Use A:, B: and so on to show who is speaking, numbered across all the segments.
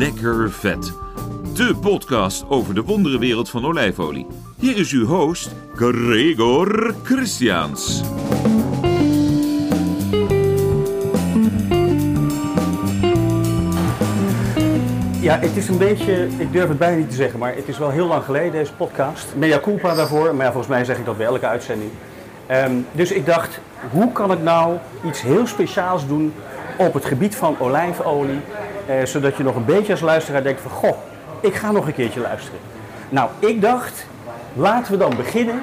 A: Lekker Vet. De podcast over de wonderenwereld van olijfolie. Hier is uw host, Gregor Christiaans.
B: Ja, het is een beetje, ik durf het bijna niet te zeggen, maar het is wel heel lang geleden deze podcast. Mea culpa daarvoor, maar ja, volgens mij zeg ik dat bij elke uitzending. Ehm, dus ik dacht, hoe kan ik nou iets heel speciaals doen op het gebied van olijfolie, eh, zodat je nog een beetje als luisteraar denkt van, goh, ik ga nog een keertje luisteren. Nou, ik dacht, laten we dan beginnen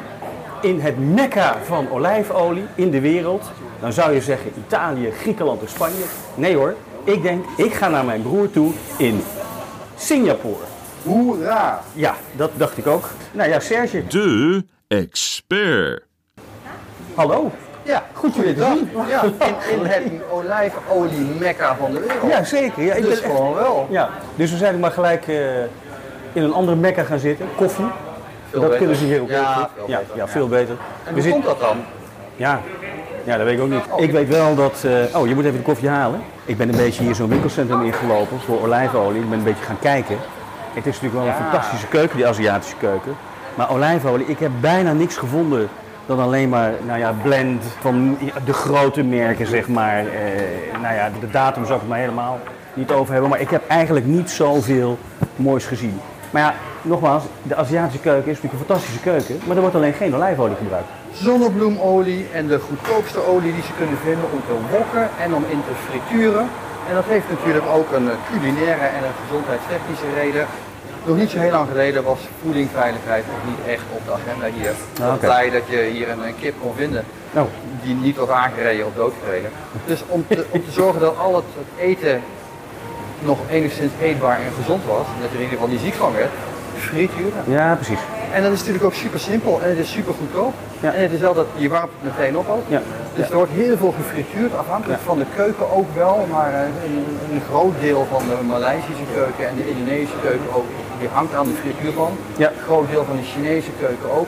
B: in het mekka van olijfolie in de wereld. Dan zou je zeggen Italië, Griekenland en Spanje. Nee hoor, ik denk, ik ga naar mijn broer toe in Singapore.
C: Hoera!
B: Ja, dat dacht ik ook. Nou ja, Serge,
A: De expert.
B: hallo.
C: Ja,
B: Goed je weer te
C: dag.
B: zien.
C: Ja, in, in het olijfolie mekka van de wereld.
B: Ja, zeker. Ja, ik
C: dus
B: ben echt-
C: gewoon wel.
B: ja, dus we zijn ook maar gelijk eh, in een andere mekka gaan zitten. Koffie. dat
C: beter.
B: kunnen ze hier ook
C: Ja,
B: heel goed.
C: veel
B: ja,
C: beter.
B: ja, veel beter.
C: En
B: We
C: hoe
B: zitten-
C: komt dat dan?
B: Ja. ja, dat weet ik ook niet. Ik weet wel dat... eh, oh, je moet even de koffie halen. Ik ben een beetje hier zo'n winkelcentrum ingelopen voor olijfolie. Ik ben een beetje gaan kijken. Het is natuurlijk wel een fantastische keuken, die Aziatische keuken. Maar olijfolie, ik heb bijna niks gevonden dan alleen maar, nou ja, blend van de grote merken, zeg maar. Eh, nou ja, de datum zou ik het maar helemaal niet over hebben. Maar ik heb eigenlijk niet zoveel moois gezien. Maar ja, nogmaals, de Aziatische keuken is natuurlijk een fantastische keuken. Maar er wordt alleen geen olijfolie gebruikt.
C: Zonnebloemolie en de goedkoopste olie die ze kunnen vinden om te wokken en om in te frituren. En dat heeft natuurlijk ook een eh, culinaire en een gezondheidstechnische reden. Nog niet zo heel lang geleden was voedingveiligheid nog niet echt op de agenda hier. Ik ben
B: oké.
C: blij dat je hier een, een kip kon vinden
B: Nou,
C: die niet was aangereden of doodgereden. Dus om te, om te zorgen dat al het, het eten nog enigszins eetbaar en gezond was, en dat je er in ieder geval niet ziek van werd, frituren.
B: ja, precies.
C: En dat is natuurlijk ook super simpel en het is super goedkoop.
B: Ja.
C: En het is wel dat je warmt het meteen op ook.
B: Ja.
C: Dus er wordt heel veel gefrituurd, afhankelijk van de keuken ook wel. Maar eh, een, een groot deel van de Maleisische keuken en de Indonesische keuken ook, die hangt aan de frituur van.
B: Ja.
C: Een groot deel van de Chinese keuken ook.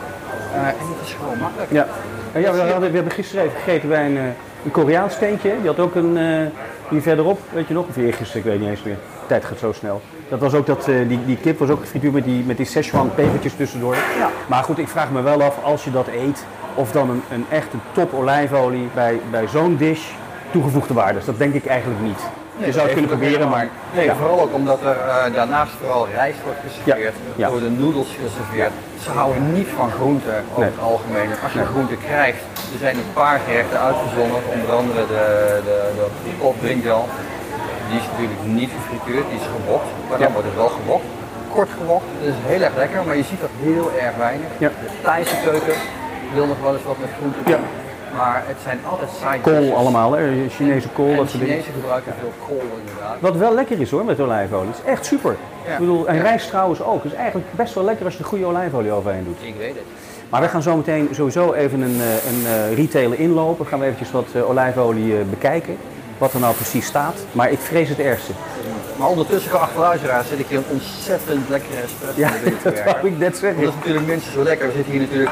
C: Eh, en het is gewoon makkelijk.
B: Ja, Nou ja we, hadden, we hebben gisteren even gegeten bij een, eh, een Koreaans tentje. hè. Die had ook een, eh, hier verderop, weet je nog, of eergisteren, ik weet niet eens meer. De tijd gaat zo snel. Dat was ook dat, eh, die, die kip was ook gefrituurd met die, met die Szechuan pepertjes tussendoor.
C: Ja.
B: Maar goed, ik vraag me wel af, als je dat eet, of dan een, een echte top olijfolie bij, bij zo'n dish toegevoegde waarde is. Dat denk ik eigenlijk niet.
C: Nee,
B: je zou het
C: dat
B: kunnen
C: heeft
B: proberen,
C: ook
B: maar...
C: helemaal- Nee,
B: ja.
C: vooral ook omdat er eh, daarnaast vooral rijst wordt geserveerd.
B: Ja, ja.
C: Er worden noedels geserveerd. Ze houden niet van groenten over
B: Nee.
C: het algemeen. Als je groenten krijgt, er zijn een paar gerechten uitgezonderd. Onder andere de, de, de opdrinkel. Die is natuurlijk niet gefrituurd, die is gebokt. Maar dan
B: Ja.
C: wordt het wel gebokt. Kort gebokt, dat is heel erg lekker, maar je ziet dat heel erg weinig.
B: Ja.
C: De Thaise keuken wil nog wel eens wat met groenten
B: Ja.
C: doen. Maar het zijn altijd side
B: Kool
C: dishes.
B: allemaal, hè? Chinese kool,
C: En
B: dat
C: de
B: soort dingen.
C: Chinezen gebruiken veel kool inderdaad.
B: Wat wel lekker is hoor met olijfolie. Het is echt super.
C: Ja.
B: Ik bedoel, en
C: Ja.
B: rijst trouwens ook. Het is eigenlijk best wel lekker als je er goede olijfolie overheen doet.
C: Ik weet het.
B: Maar we gaan zo meteen sowieso even een, eh, een eh, retailer inlopen. Gaan we eventjes wat eh, olijfolie eh, bekijken. Wat er nou precies staat. Maar ik vrees het ergste.
C: Maar ondertussen, geachte luisteraars, zit ik hier een ontzettend lekkere espresso
B: Ja,
C: binnen te
B: dat wou
C: werken.
B: ik net
C: Dat
B: zeggen.
C: is natuurlijk minstens zo lekker. We zitten hier natuurlijk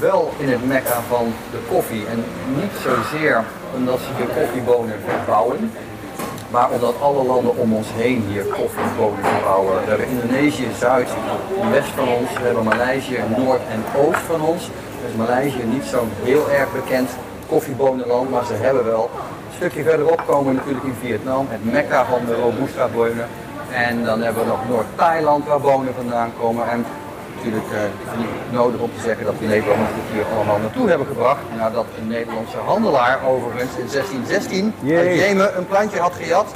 C: wel in het mekka van de koffie. En niet zozeer omdat ze hier koffiebonen verbouwen. Maar omdat alle landen om ons heen hier koffiebonen verbouwen. We hebben Indonesië, Zuid, West van ons. We hebben Maleisië, Noord en Oost van ons. Dus Maleisië niet zo'n heel erg bekend koffiebonenland, maar ze hebben wel. Een stukje verderop komen we natuurlijk in Vietnam, het mekka van de Robusta bonen. En dan hebben we nog Noord-Thailand waar bonen vandaan komen. En natuurlijk eh, niet nodig om te zeggen dat we Nederlanders dit hier allemaal naartoe hebben gebracht. Nadat een Nederlandse handelaar overigens in 1616 uit
B: Jee.
C: Jemen een plantje had gejat.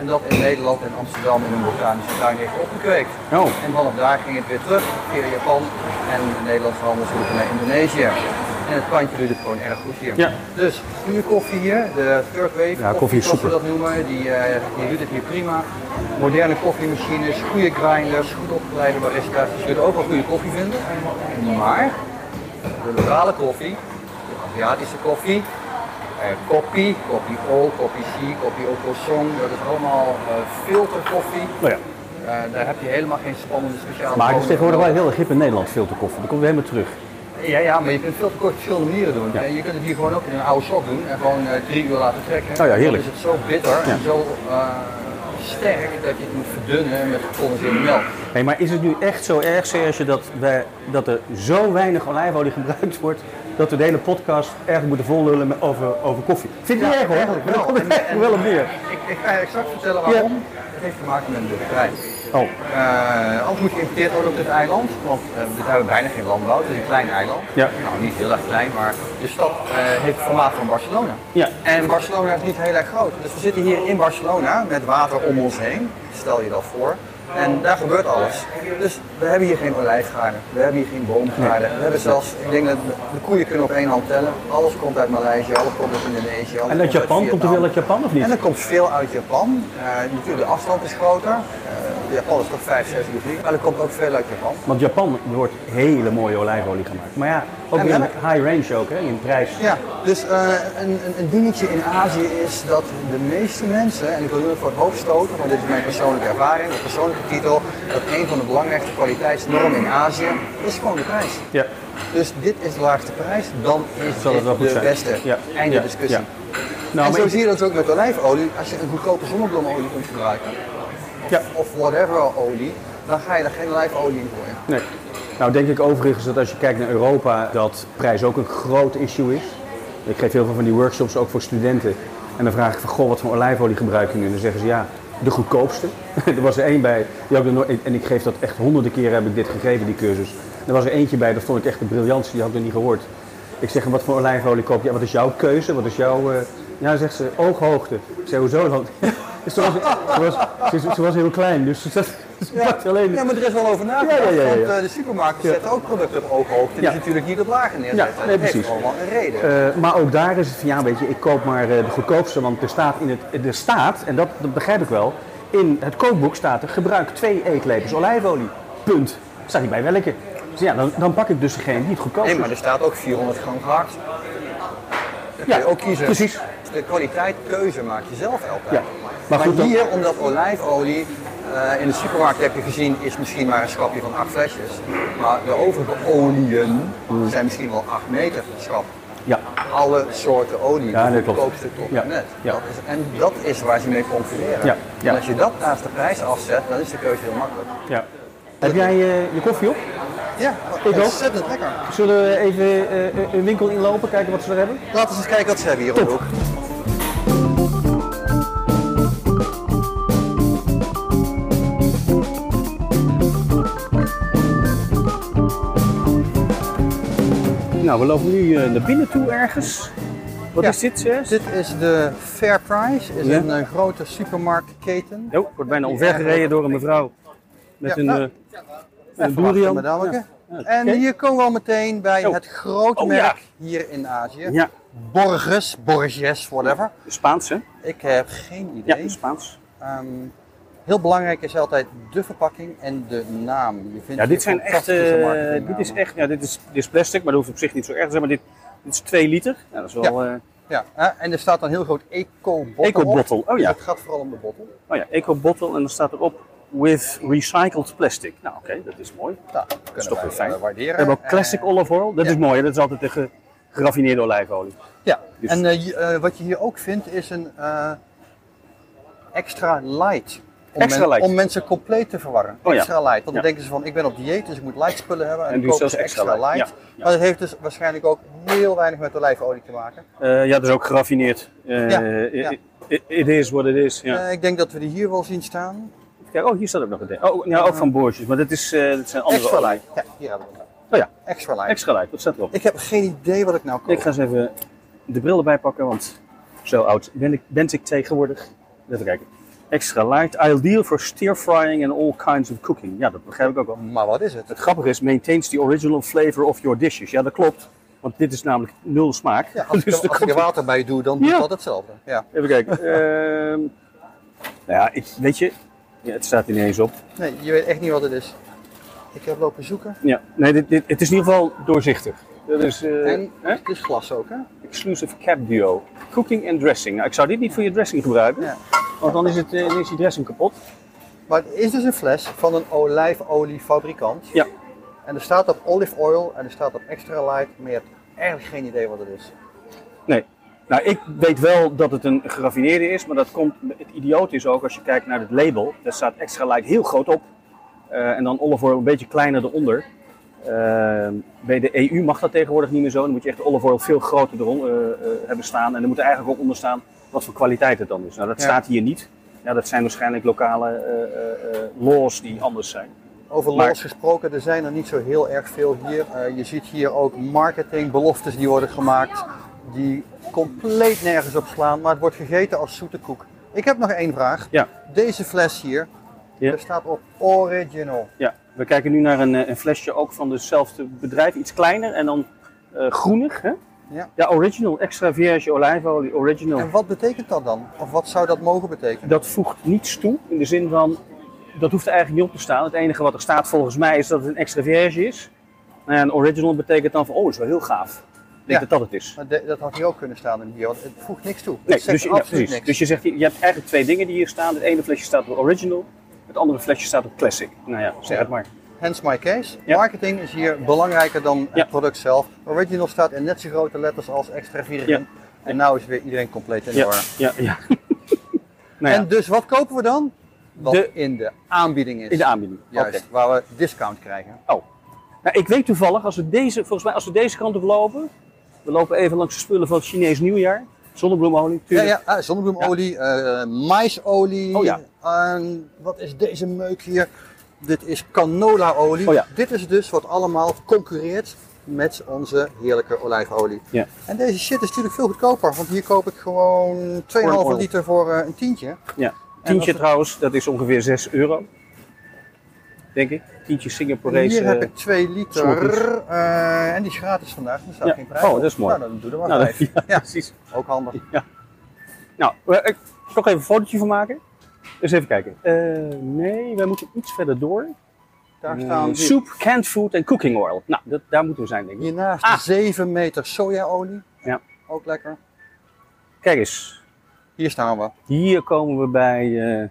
C: En dat in Nederland en Amsterdam in een botanische tuin heeft opgekweekt.
B: Oh.
C: En vanaf daar ging het weer terug via Japan en de Nederlandse handelsroute naar Indonesië. En het plantje doet het gewoon erg goed hier.
B: Ja.
C: Dus nu koffie hier, de third wave
B: Ja, koffie is
C: zoals we
B: super.
C: dat noemen, die, eh, die doet het hier prima. Moderne koffiemachines, goede grinders, goed opgeleide barista's, die zullen ook wel goede koffie vinden. Maar de lokale koffie, de Aziatische koffie, eh, koppie, koppie O, koppie C, koppie Okosong, dat is allemaal eh, filterkoffie.
B: Nou ja.
C: Eh, daar heb je helemaal geen spannende speciale
B: Maar het is
C: bonen
B: tegenwoordig
C: voor
B: wel heel erg hip in Nederland filterkoffie. Dat komt weer helemaal terug.
C: ja, ja, maar je kunt veel te kort op verschillende manieren doen. En Je kunt het hier gewoon eh, ook in een oude sok doen en gewoon eh, drie uur laten trekken.
B: ja, Oh heerlijk.
C: Dan is het zo bitter en zo eh, sterk dat je het moet verdunnen met gecondenseerde melk.
B: Hey, maar is het nu echt zo erg, Serge, dat, wij, dat er zo weinig olijfolie gebruikt wordt... dat we de hele podcast erg moeten vollullen met- over, over koffie? Vind je
C: Ja,
B: het erg, hoor?
C: eigenlijk wel.
B: Daar komt het
C: En-
B: eigenlijk
C: en-
B: wel op neer.
C: Ik, ik ga je straks vertellen waarom. Het heeft te maken met de prijs.
B: Oh,
C: Eh, anders moet geïmporteerd worden op dit eiland, want eh, we hebben bijna geen landbouw. Het is een klein eiland.
B: Ja.
C: Nou, niet heel erg klein, maar de stad eh, heeft het formaat van Barcelona.
B: Ja.
C: En Barcelona is niet heel erg groot. Dus we zitten hier in Barcelona met water om ons heen. Stel je dat voor. En daar gebeurt alles. Dus we hebben hier geen olijfgaarden, we hebben hier geen boomgaarden. We hebben zelfs, ik denk dat de koeien kunnen op één hand tellen. Alles komt uit Maleisië, alles komt uit Indonesië. alles
B: en uit
C: komt
B: Japan? Komt er veel
C: Vietnam.
B: uit Japan of
C: En er
B: niet?
C: komt veel uit Japan. Eh, natuurlijk, de afstand is groter. Eh, Japan is toch 5, 6 uur vliegen. Maar er komt ook veel uit Japan.
B: Want Japan wordt hele mooie olijfolie gemaakt. Maar ja, ook
C: En
B: weer een
C: melk.
B: high range ook, hè, in prijs.
C: Ja, dus eh, een, een, een dingetje in Azië is dat de meeste mensen, en ik wil nu voor het hoofd stoten, want dit is mijn persoonlijke ervaring, mijn persoonlijke titel, dat een van de belangrijkste kwaliteitsnormen in Azië is gewoon de prijs.
B: Ja.
C: Dus dit is de laagste prijs, dan is
B: Zal het
C: dit
B: wel goed
C: de
B: zijn.
C: beste.
B: Ja.
C: Einde
B: Ja.
C: discussie.
B: Ja. Nou,
C: en
B: maar
C: zo
B: ik-
C: zie je dat ook met olijfolie. Als je een goedkope zonnebloemolie kunt gebruiken,
B: Ja.
C: of whatever olie, dan ga je er geen olijfolie in gooien.
B: Nee. Nou denk ik overigens dat als je kijkt naar Europa, dat prijs ook een groot issue is. Ik geef heel veel van die workshops ook voor studenten. En dan vraag ik van, goh, wat voor olijfolie gebruik je nu? En dan zeggen ze, ja, de goedkoopste. er was er één bij, die had ik nog nooit- en ik geef dat echt honderden keren heb ik dit gegeven, die cursus. Er was er eentje bij, dat vond ik echt een briljantie, die had ik nog niet gehoord. Ik zeg, wat voor olijfolie koop je? Wat is jouw keuze? Wat is jouw... eh Ja, zegt ze, ooghoogte. Ik zeg, hoezo dan? Dus ze, was, ze, was, ze, ze was heel klein, dus ze, zat- ze pakte alleen...
C: Ja, maar er is wel over nagedacht,
B: Ja, ja, ja, ja, ja.
C: want eh, de supermarkten zetten ook producten op ooghoogte, die
B: Ja.
C: ze natuurlijk niet op lagen neerzetten.
B: Ja, nee,
C: dat
B: precies.
C: heeft gewoon wel een reden.
B: Eh, maar ook daar is het van, ja weet je, ik koop maar eh, de goedkoopste, want er staat in het, er staat, en dat, dat begrijp ik wel, in het kookboek staat er, gebruik twee eetlepels olijfolie, punt. Staat niet bij welke. Dus ja, dan, dan pak ik dus degene die het goedkoopst
C: nee,
B: is.
C: maar er staat ook 400 gram gehakt. Dat
B: Ja,
C: kun je ook kiezen.
B: precies.
C: De kwaliteit, keuze maak je zelf altijd.
B: Ja. Maar
C: Maar,
B: goed, dan-
C: hier, omdat olijfolie eh, in de supermarkt heb je gezien, is misschien maar een schapje van acht flesjes. Maar de overige oliën
B: Mm.
C: zijn misschien wel 8 meter schap.
B: Ja,
C: Alle soorten olie,
B: Ja,
C: de
B: dat klopt.
C: goedkoopste tot
B: Ja,
C: net.
B: ja.
C: Dat is, en dat is waar ze mee concurreren.
B: Ja, ja.
C: En als je dat naast de prijs afzet, dan is de keuze heel makkelijk.
B: ja. Heb jij eh, je koffie op?
C: Ja,
B: Ik ook.
C: ontzettend lekker.
B: Zullen we even eh, een winkel inlopen, kijken wat ze er hebben?
C: Laten we eens kijken wat ze hebben hier op de hoek.
B: Nou, we lopen nu eh, naar binnen toe ergens. Wat
C: Ja.
B: is dit, Serge?
C: Dit is de Fair Price, is
B: Ja.
C: een eh, grote supermarktketen.
B: Oh, wordt bijna omvergereden door een mevrouw met
C: Ja,
B: een,
C: nou,
B: eh, een
C: Even
B: durian.
C: wachten, madameke.
B: Ja. Ja,
C: En
B: oké.
C: hier komen we al meteen bij
B: Oh.
C: het grote
B: Oh,
C: merk
B: ja.
C: hier in Azië.
B: Ja,
C: Borges, Borges, whatever.
B: Spaans hè?
C: Ik heb geen
B: Ja,
C: idee.
B: Spaans.
C: Ehm, heel belangrijk is altijd de verpakking en de naam. Je vindt
B: Ja,
C: hier
B: dit zijn echt,
C: fantastische
B: eh,
C: marketingnamen.
B: dit is echt, ja, dit is, dit is plastic, maar dat hoeft op zich niet zo erg te zijn, maar dit, dit is 2 liter. Ja, dat is wel, eh
C: Ja, hè, en er staat dan heel groot eco-bottle op.
B: eco-bottle. Oh ja,
C: Het gaat vooral om de bottle.
B: oh ja, eco-bottle en dan staat erop with recycled plastic. Nou oké, dat is mooi. We
C: Nou, dat kunnen
B: toch
C: wij
B: weer fijn.
C: eh, waarderen.
B: hebben ook classic
C: Eh,
B: olive oil, dat
C: ja.
B: is mooi, hè? dat is altijd de ge- geraffineerde olijfolie.
C: Ja,
B: Dus-
C: en eh, je- eh, wat je hier ook vindt is een eh, extra light. Om,
B: Extra light.
C: om mensen compleet te verwarren.
B: Oh ja.
C: Extra light. Want
B: Ja.
C: dan denken ze van ik ben op dieet, dus ik moet light spullen hebben. En,
B: En
C: dan
B: doe
C: kopen
B: zelfs
C: ze
B: extra
C: extra,
B: light.
C: light.
B: Ja, ja.
C: Maar dat heeft dus waarschijnlijk ook heel weinig met olijfolie te maken.
B: Eh, ja, dat is ook geraffineerd. Eh,
C: Ja,
B: i-
C: ja.
B: i- It, is what it is. Ja.
C: Eh, ik denk dat we die hier wel zien staan.
B: Kijk, oh, hier staat ook nog een ding. Oh, ja, ook van Boortjes, maar dat, is, eh, dat zijn andere
C: Extra
B: olie.
C: light. Ja, hier hebben we hem.
B: Oh ja,
C: Extra light.
B: extra light, wat staat erop?
C: Ik heb geen idee wat ik nou koop.
B: Ik ga eens even de bril erbij pakken, want zo oud ben ik, ben ik tegenwoordig. Even kijken. Extra light, ideal for stir frying and all kinds of cooking. Ja, dat begrijp ik ook wel.
C: Maar wat is het?
B: Het grappige is, maintains the original flavor of your dishes. Ja, dat klopt. Want dit is namelijk nul smaak.
C: Ja,
B: Dus
C: als, ik,
B: dat
C: als ik er
B: komt-
C: water bij doe, dan doet
B: Ja.
C: dat hetzelfde. Ja.
B: Even kijken. Ehm, nou ja, ik, weet je, ja, het staat ineens op.
C: Nee, je weet echt niet wat het is. Ik heb lopen zoeken.
B: Ja, nee, dit, dit, het is in ieder geval doorzichtig. Dat is eh,
C: En
B: hè?
C: het is glas ook, hè?
B: Exclusive Cap Duo. Cooking and dressing. Nou, ik zou dit niet voor je dressing gebruiken,
C: Ja.
B: want dan is, het, eh, dan is die dressing kapot.
C: Maar het is dus een fles van een olijfoliefabrikant.
B: Ja.
C: En er staat op olive oil en er staat op extra light, maar je hebt eigenlijk geen idee wat het is.
B: Nee. Nou, ik weet wel dat het een geraffineerde is, maar dat komt, het idioot is ook als je kijkt naar het label. Daar staat extra light heel groot op eh, en dan olive oil een beetje kleiner eronder. Eh, bij de EU mag dat tegenwoordig niet meer zo. Dan moet je echt olive oil veel groter eronder eh, eh, hebben staan. En er moet er eigenlijk ook onder staan wat voor kwaliteit het dan is. Nou, dat
C: Ja.
B: staat hier niet. Ja, dat zijn waarschijnlijk lokale eh, eh, eh, laws die anders zijn.
C: Over
B: Maar-
C: laws gesproken, er zijn er niet zo heel erg veel hier. Eh, je ziet hier ook marketingbeloftes die worden gemaakt, die compleet nergens op slaan, maar het wordt gegeten als zoete koek. Ik heb nog één vraag.
B: Ja.
C: Deze fles hier,
B: Ja.
C: er staat op original.
B: Ja, we kijken nu naar een, eh, een flesje ook van hetzelfde bedrijf, iets kleiner en dan eh groenig. Hè?
C: Ja.
B: original, extra vierge olijfolie, original.
C: En wat betekent dat dan? Of wat zou dat mogen betekenen?
B: Dat voegt niets toe in de zin van, dat hoeft er eigenlijk niet op te staan. Het enige wat er staat volgens mij is dat het een extra vierge is. En original betekent dan van, oh, dat is wel heel gaaf. Ik
C: Ja.
B: denk dat dat het is.
C: Maar de- dat had hier ook kunnen staan in hier, want het voegt niks toe.
B: Nee,
C: het zegt
B: dus, je- ja,
C: absoluut
B: precies.
C: niks.
B: dus je zegt, je hebt eigenlijk twee dingen die hier staan. Het ene flesje staat op original, het andere flesje staat op classic. Nou ja, zeg het maar.
C: Hence my case.
B: Ja.
C: Marketing is hier belangrijker dan
B: Ja.
C: het product zelf. Original staat in net zo grote letters als extra virgin.
B: Ja.
C: En nou is weer iedereen compleet in de
B: Ja,
C: war.
B: ja, ja. nou ja,
C: En dus wat kopen we dan? Wat
B: De-
C: in de aanbieding is.
B: in de aanbieding.
C: Juist,
B: Oké.
C: waar we discount krijgen.
B: Oh. Nou, ik weet toevallig, als we deze, volgens mij, als we deze kant op lopen. We lopen even langs de spullen van het Chinees Nieuwjaar. Zonnebloemolie,
C: Ja,
B: tuurlijk.
C: ja, ah, zonnebloemolie, eh, maisolie.
B: Oh ja.
C: En wat is deze meuk hier? Dit is canolaolie.
B: Oh ja.
C: Dit is dus wat allemaal concurreert met onze heerlijke olijfolie.
B: Ja.
C: En deze shit is natuurlijk veel goedkoper, want hier koop ik gewoon 2,5
B: oil.
C: liter voor eh, een tientje.
B: Ja.
C: En als
B: Tientje
C: we-
B: trouwens, dat is ongeveer 6 euro. Denk ik. Tientje
C: En
B: Singaporese.
C: hier heb
B: eh,
C: ik 2 liter
B: smokkies.
C: eh, en die is gratis vandaag, er staat
B: Ja.
C: geen prijs
B: Oh,
C: op.
B: dat is mooi.
C: Nou, dan doe er maar
B: nou, dat-
C: vijf.
B: ja,
C: Ja.
B: precies.
C: Ook handig.
B: Ja. Nou, eh, ik kan ook even een fotootje van maken. Dus even kijken. Eh, nee, wij moeten iets verder door.
C: Daar
B: Eh,
C: staan die-
B: Soup, canned food en cooking oil. Nou, dat, daar moeten we zijn, denk ik.
C: Hiernaast
B: Ah.
C: 7 meter sojaolie.
B: Ja.
C: Ook lekker.
B: Kijk eens.
C: Hier staan we.
B: Hier komen we bij. eh,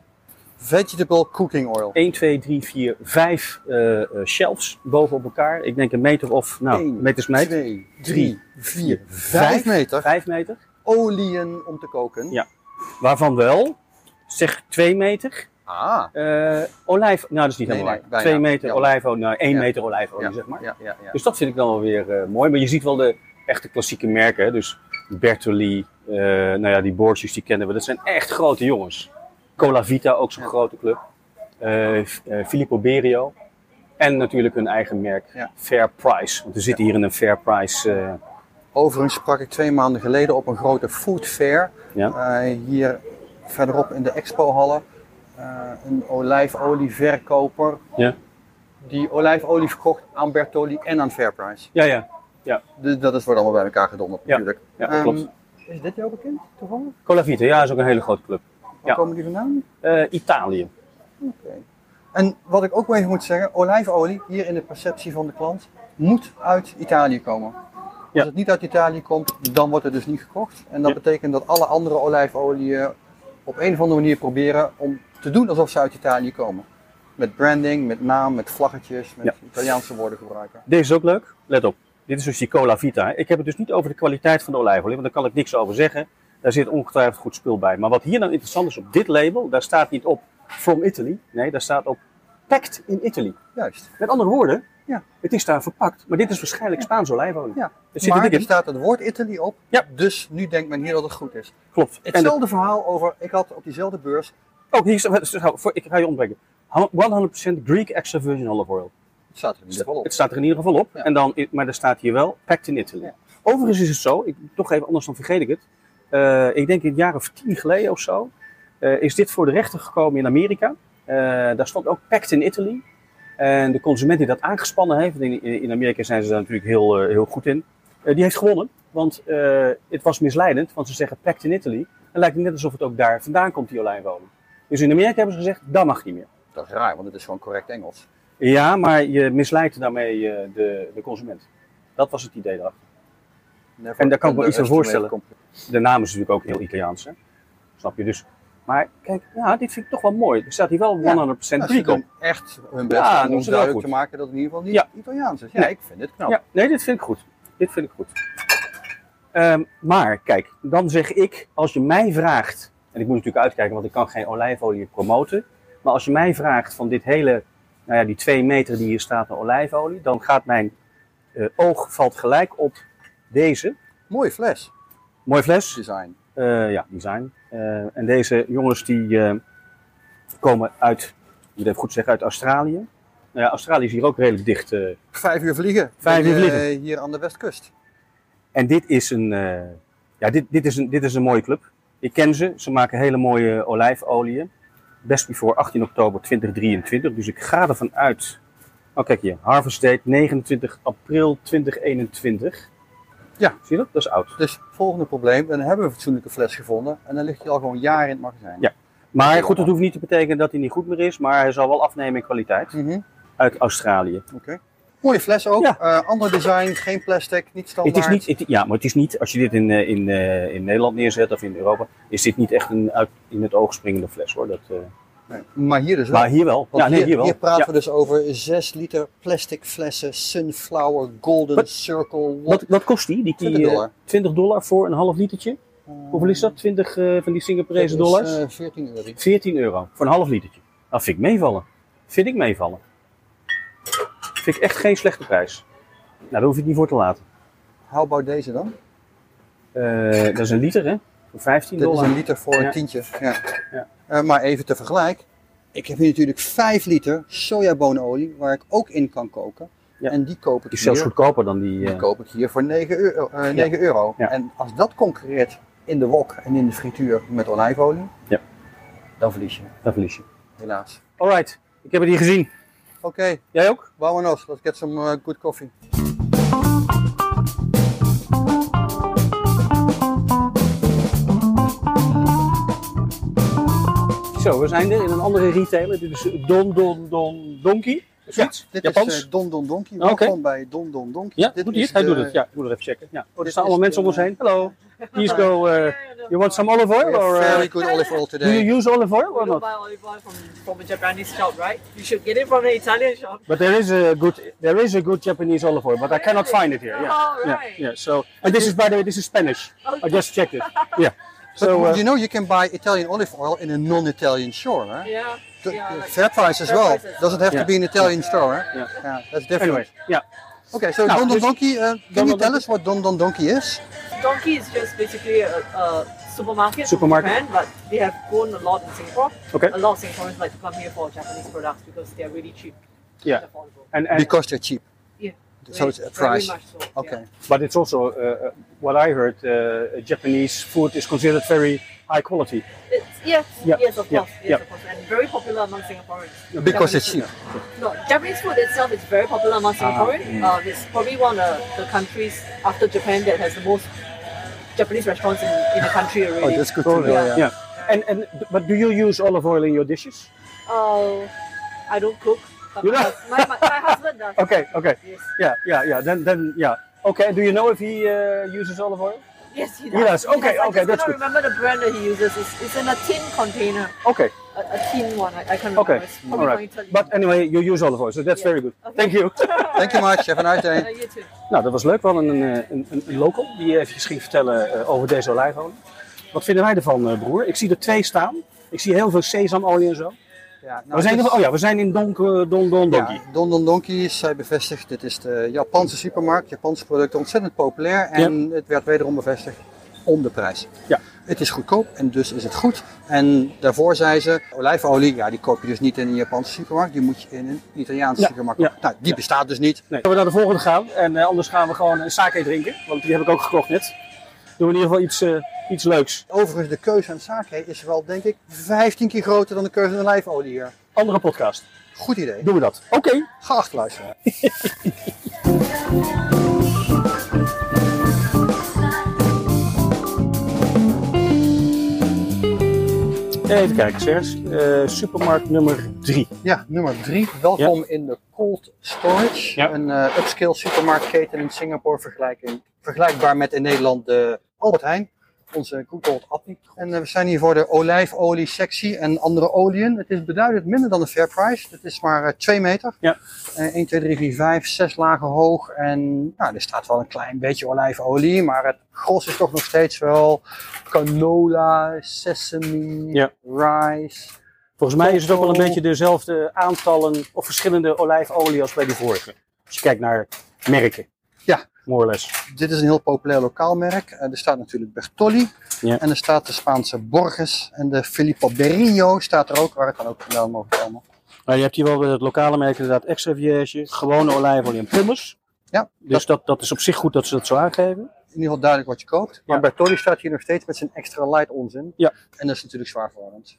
C: Vegetable cooking oil.
B: 1, 2, 3, 4, 5 eh, eh, shelves boven op elkaar. Ik denk een meter of, nou,
C: Eén,
B: meters meter.
C: 2,
B: Drie,
C: 3, 4, 5 meter.
B: Vijf meter.
C: Oliën om te koken.
B: Ja. Waarvan wel, zeg 2 meter,
C: Ah.
B: eh, olijf... Nou, dat is niet
C: Nee,
B: helemaal waar.
C: nee, bijna.
B: 2 meter
C: Ja.
B: olijfolie, nou 1
C: Ja.
B: meter olijfolie,
C: Ja,
B: zeg maar.
C: Ja, ja, ja.
B: Dus dat vind ik dan wel weer eh, mooi. Maar je ziet wel de echte klassieke merken. hè. Dus Bertolli, eh, nou ja, die Borges die kennen we. Dat zijn echt grote jongens. Cola Vita, ook zo'n
C: Ja.
B: grote club. Eh, F- eh, Filippo Berio. En natuurlijk hun eigen merk,
C: Ja.
B: Fair Price. Want we zitten hier in een Fair Price. eh,
C: Overigens sprak ik twee maanden geleden op een grote food fair.
B: Ja.
C: eh, hier verderop in de expohallen. eh een olijfolieverkoper.
B: Ja.
C: Die olijfolie verkocht aan Bertolli en aan Fairprice.
B: ja, ja,
C: Dus dat is, wordt allemaal bij elkaar gedonderd
B: Ja.
C: natuurlijk.
B: ja
C: Ehm,
B: klopt.
C: Is dit jou bekend toevallig?
B: Cola Vita, ja, is ook een hele grote club.
C: Waar
B: Ja.
C: komen die vandaan?
B: Eh, Italië.
C: Oké. En wat ik ook wel even moet zeggen, olijfolie, hier in de perceptie van de klant, moet uit Italië komen. Als
B: Ja.
C: het niet uit Italië komt, dan wordt het dus niet gekocht. En dat
B: Ja.
C: betekent dat alle andere olijfolieën op een of andere manier proberen om te doen alsof ze uit Italië komen. Met branding, met naam, met vlaggetjes, met
B: Ja.
C: Italiaanse woorden gebruiken.
B: Deze is ook leuk. Let op. Dit is dus die Cola Vita. Ik heb het dus niet over de kwaliteit van de olijfolie, want daar kan ik niks over zeggen. Daar zit ongetwijfeld goed spul bij. Maar wat hier nou interessant is op dit label, daar staat niet op From Italy. Nee, daar staat op Packed in Italy.
C: Juist.
B: Met andere woorden,
C: Ja.
B: het is daar verpakt. Maar dit is waarschijnlijk Spaanse olijfolie.
C: Ja.
B: Er zit er
C: maar
B: dik
C: er
B: in.
C: staat het woord Italië op,
B: Ja.
C: dus nu denkt men hier dat het goed is.
B: Klopt. En
C: Hetzelfde verhaal over, ik had op diezelfde beurs
B: de- ook hier staat, voor- ik ga je ontbreken. 100% Greek extra virgin olive oil.
C: Het staat er in ieder geval op.
B: Het staat er in ieder geval op,
C: Ja.
B: en dan, maar er staat hier wel Packed in Italy.
C: Ja.
B: Overigens is het zo, ik, toch even anders dan vergeet ik het. Eh, ik denk een jaar of tien geleden of zo eh, is dit voor de rechter gekomen in Amerika. Eh, daar stond ook Packed in Italy. En de consument die dat aangespannen heeft, want in, in Amerika zijn ze daar natuurlijk heel, eh, heel goed in, eh, die heeft gewonnen. Want eh, het was misleidend, want ze zeggen Packed in Italy. En lijkt het net alsof het ook daar vandaan komt, die olijfolie. Dus in Amerika hebben ze gezegd, dat mag niet meer.
C: Dat is raar, want het is gewoon correct Engels.
B: Ja, maar je misleidt daarmee eh, de, de consument. Dat was het idee erachter.
C: Never
B: En daar kan ik me iets bij
C: underestimate
B: voorstellen.
C: compl-
B: De naam is natuurlijk ook heel Italiaans, hè? Snap je dus? Maar kijk, ja, dit vind ik toch wel mooi. Er staat hier wel 100%
C: Ja,
B: ja,
C: Nou, ze
B: Griek op.
C: doen echt hun best
B: Ja,
C: om
B: doen
C: ons
B: ze wel
C: duidelijk
B: goed.
C: te maken dat het in ieder geval niet
B: Ja.
C: Italiaans is. Ja,
B: Nou, Nee.
C: ik vind het knap.
B: Ja, nee, dit vind ik goed. Dit vind ik goed. Ehm, maar kijk, dan zeg ik, als je mij vraagt, en ik moet natuurlijk uitkijken, want ik kan geen olijfolie promoten. Maar als je mij vraagt van dit hele, nou ja, die twee meter die hier staat aan olijfolie, dan gaat mijn eh, oog valt gelijk op deze.
C: Mooi fles
B: Mooi fles.
C: design.
B: Eh, ja, design. Eh, en deze jongens die eh, komen uit, ik moet het even goed zeggen, uit Australië. Nou ja, Australië is hier ook redelijk dicht. eh.
C: Vijf uur vliegen.
B: Vijf uur
C: Eh,
B: vliegen.
C: hier aan de westkust.
B: En dit is een, eh, ja, dit, dit, is een, dit is een mooie club. Ik ken ze. Ze maken hele mooie olijfolieën. Best before 18 oktober 2023. Dus ik ga ervan uit. Oh, kijk hier. Harvest date 29 april 2021.
C: Ja.
B: Zie je dat? Dat is oud.
C: Dus volgende probleem, dan hebben we een fatsoenlijke fles gevonden en dan ligt hij al gewoon jaren in het magazijn.
B: Ja. Maar goed, dat hoeft niet te betekenen dat hij niet goed meer is. Maar hij zal wel afnemen in kwaliteit.
C: Mhm,
B: Uit Australië.
C: oké. Mooie fles ook.
B: Ja.
C: Eh, ander design, geen plastic, niet standaard.
B: Het is niet, het- ja, maar het is niet, als je dit in, eh, in, eh, in Nederland neerzet of in Europa, is dit niet echt een uit, in het oog springende fles hoor. Dat, eh,
C: Nee, Maar hier dus wel.
B: maar hier wel.
C: Want
B: ja, nee,
C: hier,
B: hier, wel.
C: hier praten
B: Ja.
C: we dus over 6 liter plastic flessen Sunflower Golden
B: Wat-
C: Circle.
B: Wat, wat kost die? die, die
C: 20
B: eh,
C: dollar.
B: 20 dollar voor een half litertje?
C: uh,
B: Hoeveel is dat? 20 eh, van die Singaporese dollars?
C: 14 eh, euro.
B: 14 euro voor een half litertje. Dat vind ik meevallen. Vind ik meevallen. Vind ik echt geen slechte prijs. Nou, daar hoef je het niet voor te laten.
C: How about deze dan?
B: Eh, dat is een liter, hè? Voor 15
C: Dit is
B: dollar.
C: een liter voor
B: Ja.
C: een tientje. Ja.
B: Ja.
C: Eh, maar even te vergelijk. Ik heb hier natuurlijk 5 liter sojabonenolie waar ik ook in kan koken.
B: Ja.
C: En die koop ik
B: Die is
C: hier.
B: zelfs goedkoper dan die.
C: Die
B: eh,
C: koop ik hier voor 9 euro. eh, 9 euro.
B: Ja.
C: En als dat concurreert in de wok en in de frituur met olijfolie,
B: Ja.
C: dan verlies je,
B: dat verlies je.
C: helaas.
B: Alright, ik heb het hier gezien.
C: Oké,
B: Jij ook?
C: vámonos. Let's get some eh, good coffee.
B: Zo, we zijn er in een andere retailer. Dit is Don Don Don Donkey. Of zoiets?
C: dit
B: Japans?
C: is eh, Don Don Donkey.
B: Ah, oké.
C: Welkom bij Don Don Donkey.
B: ja,
C: dit
B: doet hij
C: is
B: het? Hij
C: de-
B: doet het. Ja, ik moet er even checken. Ja. Oh, er
C: dit
B: staan allemaal
C: is
B: mensen om
C: de-
B: ons heen. Hallo. Please go. eh, you want some olive
C: we
B: oil?
C: have
B: Or, eh,
C: very good olive oil
B: do
C: today.
B: you use olive oil
D: We
B: or
D: don't
B: not?
D: buy olive oil from, from a Japanese shop, right? You should get it from an Italian shop.
B: But there is a good, there is a good Japanese olive oil, but I cannot find it here. Yeah.
D: Oh,
B: Yeah,
D: right.
B: yeah. So, and this is by the way, this is Spanish. I just checked it. Yeah. So,
C: But
B: uh,
C: you know you can buy Italian olive oil in a non-Italian store, huh?
D: Yeah.
C: Th-
D: yeah, like-
C: fair price as
D: fair
C: well.
D: prices.
C: Doesn't have
B: Yeah.
C: to be an Italian store, huh?
B: Yeah.
C: that's different.
B: anyway, yeah.
C: Okay, so
B: Nou,
C: Don Don
B: dus-
C: Donkey, uh,
B: Don
C: can you
B: Don
C: tell
B: Donkey.
C: us what Don Don Donkey is?
D: Donkey is just basically a, a supermarket. in
B: Supermarket.
D: Japan, but they have grown a lot in Singapore.
B: Okay.
D: A lot of Singaporeans like to come here for Japanese products because they are really cheap.
B: Yeah.
D: And affordable.
B: And, and
C: Because they're cheap.
D: Yeah.
C: So it's a
D: Very
C: price.
D: much so, yeah.
C: Okay.
B: but it's also uh, uh, what I heard. Uh, Japanese food is considered very high quality.
D: It's, yes,
B: Yeah,
D: yes, of
B: yeah,
D: course, yes,
B: yeah.
D: of course, and very popular among Singaporeans.
C: Because it's cheap.
D: Japanese food. No, Japanese food itself is very popular among Singaporeans.
B: mm.
D: Um, it's probably one of the countries after Japan that has the most Japanese restaurants in, in the country
C: Oh,
D: already.
C: that's good to know.
D: yeah.
C: Yeah.
B: yeah. And and but do you use olive oil in your dishes?
D: Uh, I don't cook. but
B: You
D: my,
B: don't?
D: hus- my, my, my husband does.
B: Okay, okay.
D: Yes.
B: Yeah, yeah, yeah. Then then yeah. Okay. and Do you know if he uh, uses olive oil?
D: Yes, he does.
B: He does. Okay,
D: I
B: okay,
D: just
B: that's
D: cannot
B: good.
D: remember the brand that he uses. It's, it's in a tin container,
B: Okay,
D: a, a tin one. I, I can't remember.
B: okay.
D: It's
B: All
D: probably from
B: right.
D: Italy.
B: But anyway, you use olive oil, so that's
D: Yeah.
B: very good.
D: Okay.
B: Thank you.
C: Thank you much. Have a nice
D: Uh,
C: day.
D: you too.
B: nou, dat was leuk. We hadden een, eh, een, een, een local die even ging vertellen eh, over deze olijfolie. Wat vinden wij ervan, eh, broer? Ik zie er twee staan. Ik zie heel veel sesamolie en zo.
C: Ja,
B: we zijn nog- oh ja, we zijn in Donk, eh, Don Don Donkie.
C: Ja, Don Don Donkey is, zij bevestigt, dit is de Japanse supermarkt, Japanse producten, ontzettend populair en het werd wederom bevestigd om de prijs.
B: Ja.
C: Het is goedkoop en dus is het goed. En daarvoor zei ze, olijfolie, ja die koop je dus niet in een Japanse supermarkt, die moet je in een Italiaanse
B: Ja,
C: supermarkt
B: ja.
C: kopen. Nou, die bestaat dus niet.
B: Nee. Zullen we naar de volgende gaan? En eh, anders gaan we gewoon een sake drinken. Want die heb ik ook gekocht net. Doen we in ieder geval iets, eh, iets leuks.
C: Overigens, de keuze aan sake is wel denk ik 15 keer groter dan de keuze aan olijfolie hier.
B: Andere podcast.
C: Goed idee.
B: Doen we dat. Oké.
C: Geacht luisteren.
B: Even kijken, Serge. Eh, supermarkt nummer 3.
C: Ja, nummer drie. Welkom in de Cold Storage.
B: Ja.
C: Een eh, upscale supermarktketen in Singapore vergelijking, vergelijkbaar met in Nederland de eh, Albert Heijn. onze Google Appie. En eh, we zijn hier voor de olijfolie sectie en andere oliën. Het is beduidend minder dan de fair price. Het is maar eh, 2 meter.
B: Ja.
C: Eh, 1, 2, 3, 4, 5, 6 lagen hoog. En nou, er staat wel een klein beetje olijfolie. Maar het gros is toch nog steeds wel canola, sesame,
B: Ja.
C: rice.
B: Volgens mij is het ook wel een
C: Coco.
B: beetje dezelfde aantallen of verschillende olijfolie als bij die vorige. Als je kijkt naar merken.
C: Ja.
B: More or less.
C: Dit is een heel populair lokaal merk. Eh, er staat natuurlijk Bertolli.
B: Ja.
C: En er staat de Spaanse Borges. En de Filippo Berrio staat er ook, waar het dan ook vandaan mag komen.
B: Maar je hebt hier wel bij het lokale merk inderdaad extra vierge, gewone olijfolie en pummers.
C: Ja,
B: Dus dat, dat is op zich goed dat ze dat zo aangeven.
C: in ieder geval duidelijk wat je koopt. Maar
B: Ja.
C: Bertolli staat hier nog steeds met zijn extra light onzin.
B: Ja.
C: En dat is natuurlijk zwaar verwarrend.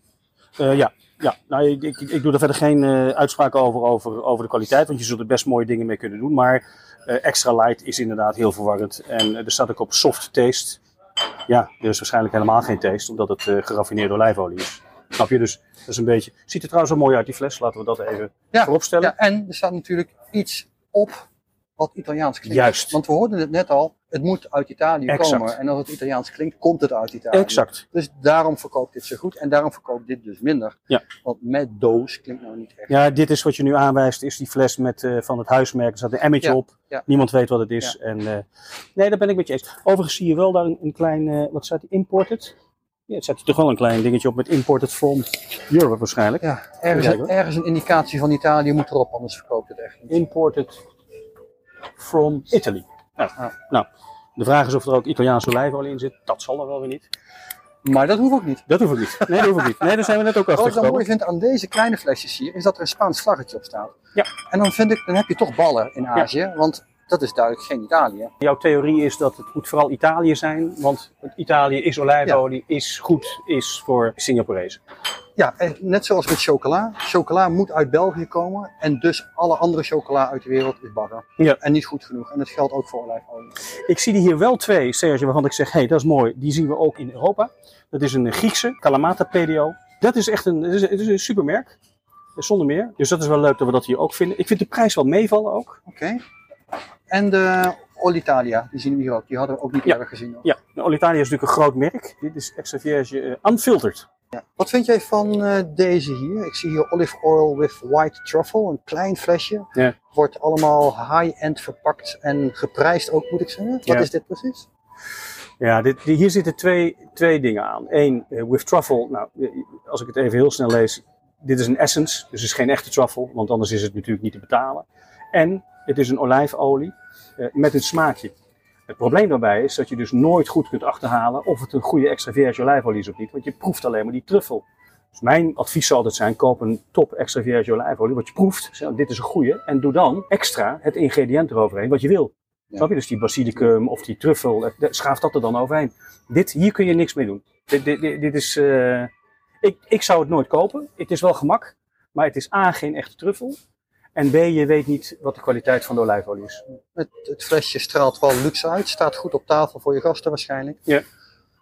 B: Eh, ja, ja. Nou, ik, ik, ik doe er verder geen eh uitspraken over, over, over de kwaliteit, want je zult er best mooie dingen mee kunnen doen. Maar eh, extra light is inderdaad heel verwarrend. En eh, er staat ook op soft taste. Ja, er is waarschijnlijk helemaal geen taste, omdat het eh, geraffineerde olijfolie is. Snap je? Dus dat is een beetje... Ziet er trouwens wel mooi uit, die fles. Laten we dat even
C: Ja,
B: vooropstellen.
C: Ja, en er staat natuurlijk iets op wat Italiaans klinkt.
B: Juist.
C: Want we hoorden het net al, het moet uit Italië
B: Exact.
C: komen. En als het Italiaans klinkt, komt het uit Italië.
B: Exact.
C: Dus daarom verkoopt dit zo goed en daarom verkoopt dit dus minder.
B: Ja.
C: Want met doos klinkt nou niet echt.
B: Ja, dit is wat je nu aanwijst, is die fles met, eh, van het huismerk. Er staat een emmertje
C: Ja,
B: op.
C: ja.
B: Niemand weet wat het is. En, eh, nee, daar ben ik met je eens. Overigens zie je wel daar een, een klein, eh, wat staat die, imported? Ja, het staat hier toch wel een klein dingetje op met imported from Europe waarschijnlijk.
C: Ja, ergens,
B: Even kijken,
C: ergens een indicatie van Italië moet erop, anders verkoopt het echt niet.
B: Imported from Italy. Nou,
C: Ah.
B: nou, de vraag is of er ook Italiaanse olijfolie in zit. Dat zal er wel weer niet.
C: Maar dat hoeft ook niet.
B: Dat hoef ik niet. Nee, dat hoef ik niet. Nee, daar zijn we net ook
C: Wat
B: achter
C: ik dan mooi
B: gekomen.
C: vind aan deze kleine flesjes hier, is dat er een Spaans vlaggetje op staat.
B: Ja.
C: En dan vind ik, dan heb je toch ballen in Azië, want dat is duidelijk geen Italië.
B: Jouw theorie is dat het moet vooral Italië zijn, want Italië is olijfolie, is goed, is voor Singaporezen.
C: Ja, en net zoals met chocola. Chocola moet uit België komen en dus alle andere chocola uit de wereld is bagger.
B: Ja.
C: En niet goed genoeg. En dat geldt ook voor olijfolie.
B: Ik zie er hier wel twee, Serge, waarvan ik zeg, hé, hey, dat is mooi. Die zien we ook in Europa. Dat is een Griekse, Kalamata PDO. Dat is echt een, het is, het is een supermerk, zonder meer. Dus dat is wel leuk dat we dat hier ook vinden. Ik vind de prijs wel meevallen ook.
C: Oké. En de Olitalia, die zien we hier ook. Die hadden we ook niet
B: Ja.
C: eerder gezien. hoor.
B: Ja, nou, Olitalia is natuurlijk een groot merk. Dit is extra vierge eh, unfiltered.
C: Wat vind jij van eh, deze hier? Ik zie hier olive oil with white truffle, een klein flesje.
B: Ja.
C: Wordt allemaal high-end verpakt en geprijsd ook, moet ik zeggen. Wat
B: Ja.
C: is dit precies?
B: Ja, dit, die- hier zitten twee, twee dingen aan. Eén, eh, with truffle. Nou, eh, als ik het even heel snel lees. Dit is een essence, dus het is geen echte truffle. Want anders is het natuurlijk niet te betalen. En het is een olijfolie eh, met een smaakje. Het probleem daarbij is dat je dus nooit goed kunt achterhalen of het een goede extra vierge olijfolie is of niet. Want je proeft alleen maar die truffel. Dus mijn advies zal altijd zijn, koop een top extra vierge olijfolie. Wat je proeft, zeg, dit is een goede. En doe dan extra het ingrediënt eroverheen wat je wil.
C: Ja.
B: Snap je? Dus die basilicum of die truffel, eh, schaaf dat er dan overheen. Dit, hier kun je niks mee doen. Dit, dit, dit, dit is, eh, ik, ik zou het nooit kopen. Het is wel gemak, maar het is A, geen echte truffel. En B, je weet niet wat de kwaliteit van de olijfolie is.
C: Het, het flesje straalt wel luxe uit, staat goed op tafel voor je gasten waarschijnlijk.
B: Ja.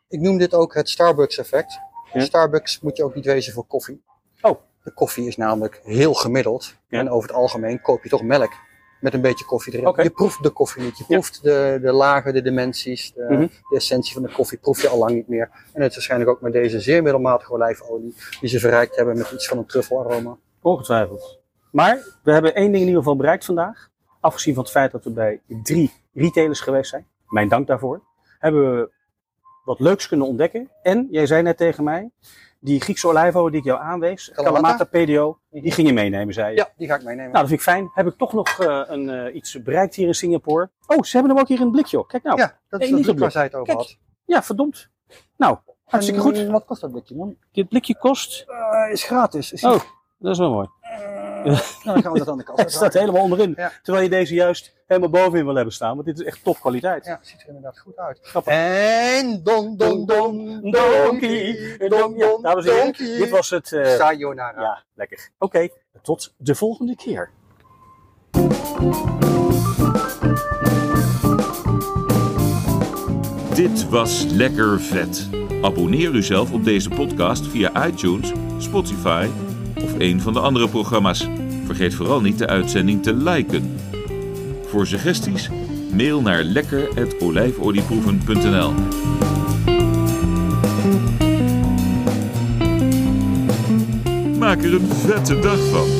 C: Ik noem dit ook het Starbucks effect.
B: Ja.
C: Starbucks moet je ook niet wezen voor koffie.
B: Oh.
C: De koffie is namelijk heel gemiddeld.
B: Ja.
C: En over het algemeen koop je toch melk met een beetje koffie erin.
B: Oké.
C: Je proeft de koffie niet. Je
B: Ja.
C: proeft de, de lagen, de dimensies, de,
B: Mhm.
C: de essentie van de koffie proef je al lang niet meer. En het is waarschijnlijk ook met deze zeer middelmatige olijfolie die ze verrijkt hebben met iets van een truffelaroma.
B: Ongetwijfeld. Maar we hebben één ding in ieder geval bereikt vandaag. Afgezien van het feit dat we bij drie retailers geweest zijn. Mijn dank daarvoor. Hebben we wat leuks kunnen ontdekken. En jij zei net tegen mij, die Griekse olijfolie die ik jou aanwees, Kalamata
C: Kalamata.
B: PDO, die ging je meenemen, zei je.
C: Ja, die ga ik meenemen.
B: Nou, dat vind ik fijn. Heb ik toch nog eh, een, eh, iets bereikt hier in Singapore. Oh, ze hebben hem ook hier in het blikje. joh. Kijk nou. Ja,
C: ja, dat
B: Nee,
C: is dat
B: niet op
C: blik
B: de-
C: waar zij het over
B: Kijk,
C: had.
B: verdomd. Nou, hartstikke
C: En eh,
B: goed.
C: Wat kost dat blikje man?
B: Dit blikje kost...
C: Eh, is gratis. Is
B: Oh, dat is wel mooi.
C: Nou, dan gaan we dat aan de kant
B: Het staat
C: zetten.
B: helemaal onderin.
C: Ja.
B: Terwijl je deze juist helemaal bovenin wil hebben staan. Want dit is echt topkwaliteit.
C: Ja, ziet er inderdaad goed uit.
B: Grappig.
C: En don, don, don, donkie, don,
B: Ja,
C: don,
B: dames en heren, dit
C: donkie.
B: was het. eh,
C: Sayonara.
B: ja, lekker. Oké, tot de volgende keer.
A: Dit was lekker vet. Abonneer uzelf op deze podcast via iTunes, Spotify of een van de andere programma's. Vergeet vooral niet de uitzending te liken. Voor suggesties mail naar lekker@olijfolieproeven.nl. maak er een vette dag van.